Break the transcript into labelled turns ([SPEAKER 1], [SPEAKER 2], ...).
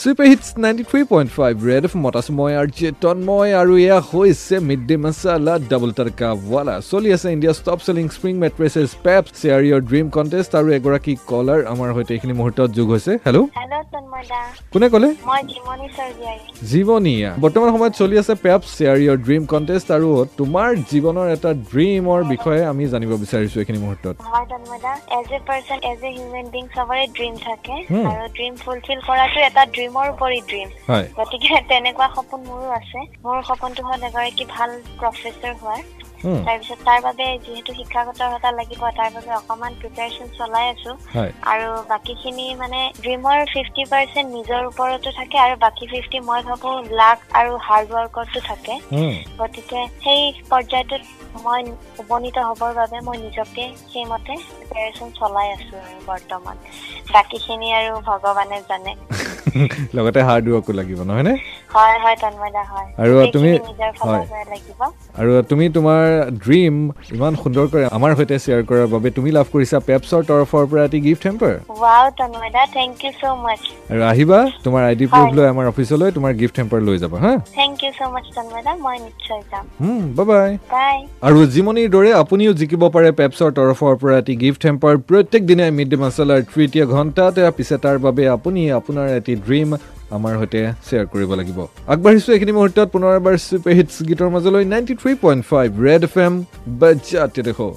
[SPEAKER 1] Super hits ninety three point five Red F মত আছোঁ মই আৰু জে তন্ময় আৰু এয়া হৈছে mid day masala double tadka wala চলি আছে India's top selling spring mattresses Peps share your dream contest আৰু এগৰাকী কলাৰ আমাৰ সৈতে এইখিনি মুহূৰ্তত যোগ হৈছে হেল্ল'
[SPEAKER 2] হেল্ল' তন্ময় দা
[SPEAKER 1] কোনে ক'লে
[SPEAKER 2] মই জিমনি চৰ্জিয়াৰী
[SPEAKER 1] জীৱনীয়া বৰ্তমান সময়ত চলি আছে Peps share your dream contest আৰু তোমাৰ জীৱনৰ এটা ড্ৰিমৰ বিষয়ে আমি জানিব বিচাৰিছোঁ এইখিনি মুহূৰ্তত
[SPEAKER 2] হয় তন্ময় দা as a person as a human being চবৰে ড্ৰিম থাকে
[SPEAKER 1] Hmm.
[SPEAKER 2] আৰু ড্ৰিম ফুলফিল কৰাটো এটা ড্ৰিমৰ উপৰি ড্ৰিম
[SPEAKER 1] হয়
[SPEAKER 2] গতিকে তেনেকুৱা সপোন মোৰো আছে মোৰ সপোনটো হ'ল এগৰাকী ভাল প্ৰফেচৰ হোৱাৰ
[SPEAKER 1] হুম,
[SPEAKER 2] তাৰপিছত তাৰ বাবে যিহেতু শিক্ষাগত অৰ্হতা লাগিব তাৰ বাবে অকণমান প্ৰিপেৰেশ্যন চলাই আছো
[SPEAKER 1] হয়
[SPEAKER 2] আৰু বাকীখিনি মানে ড্ৰিমৰ ফিফটি পাৰ্চেণ্ট নিজৰ ওপৰতো থাকে আৰু বাকী ফিফটি মই ভাবো লাক আৰু হাৰ্ড ৱৰ্কতো থাকে
[SPEAKER 1] হুম,
[SPEAKER 2] গতিকে সেই পৰ্যায়টোত মই উপনীত হ'বৰ বাবে মই নিজকে সেইমতে প্ৰিপেৰেশ্যন চলাই আছোঁ আৰু বৰ্তমান বাকীখিনি আৰু ভগৱানে জানে
[SPEAKER 1] লগতে হাৰ্ড ৱৰ্কো লাগিব নহয়নে
[SPEAKER 2] হয় হয় তন্ময়দা হয়
[SPEAKER 1] আৰু তুমি-
[SPEAKER 2] গোটেইখিনি নিজৰ ফালৰ
[SPEAKER 1] হয়।
[SPEAKER 2] পৰা লাগিব
[SPEAKER 1] আৰু তুমি তোমাৰ ড্ৰিম ইমান সুন্দৰকৈ আমাৰ সৈতে শ্বেয়াৰ কৰাৰ বাবে তুমি লাভ কৰিছা পেপছৰ তৰফৰ পৰা এটি গিফ্ট হেম্পাৰ
[SPEAKER 2] ৱাও তন্ময়দা থেংক ইউ চ' মাছ
[SPEAKER 1] আৰু আহিবা তোমাৰ আই ডি প্ৰুফ
[SPEAKER 2] হয়।
[SPEAKER 1] লৈ আমাৰ অফিচলৈ তোমাৰ গিফ্ট হেম্পাৰ লৈ যাবা হা
[SPEAKER 2] থেংক ইউ চ' মাছ তন্ময়দা মই নিশ্চয় যাম
[SPEAKER 1] বাই বাই
[SPEAKER 2] বাই
[SPEAKER 1] আৰু জিমনিৰ দৰে আপুনিও জিকিব পাৰে পেপছৰ তৰফৰ পৰা এটি গিফ্ট হেম্পাৰ প্ৰত্যেক দিনাই মিড ডে মাছালাৰ তৃতীয় ঘণ্টাতে পিছে তাৰ বাবে আপুনি আপোনাৰ এটি ড্ৰিম আমাৰ সৈতে শ্বেয়াৰ কৰিব লাগিব আগবাঢ়িছোঁ এইখিনি মুহূৰ্তত পুনৰ এবাৰ ছুপাৰ হিটছ গীতৰ মাজলৈ ninety three point five Red F M বাজাতে দেখো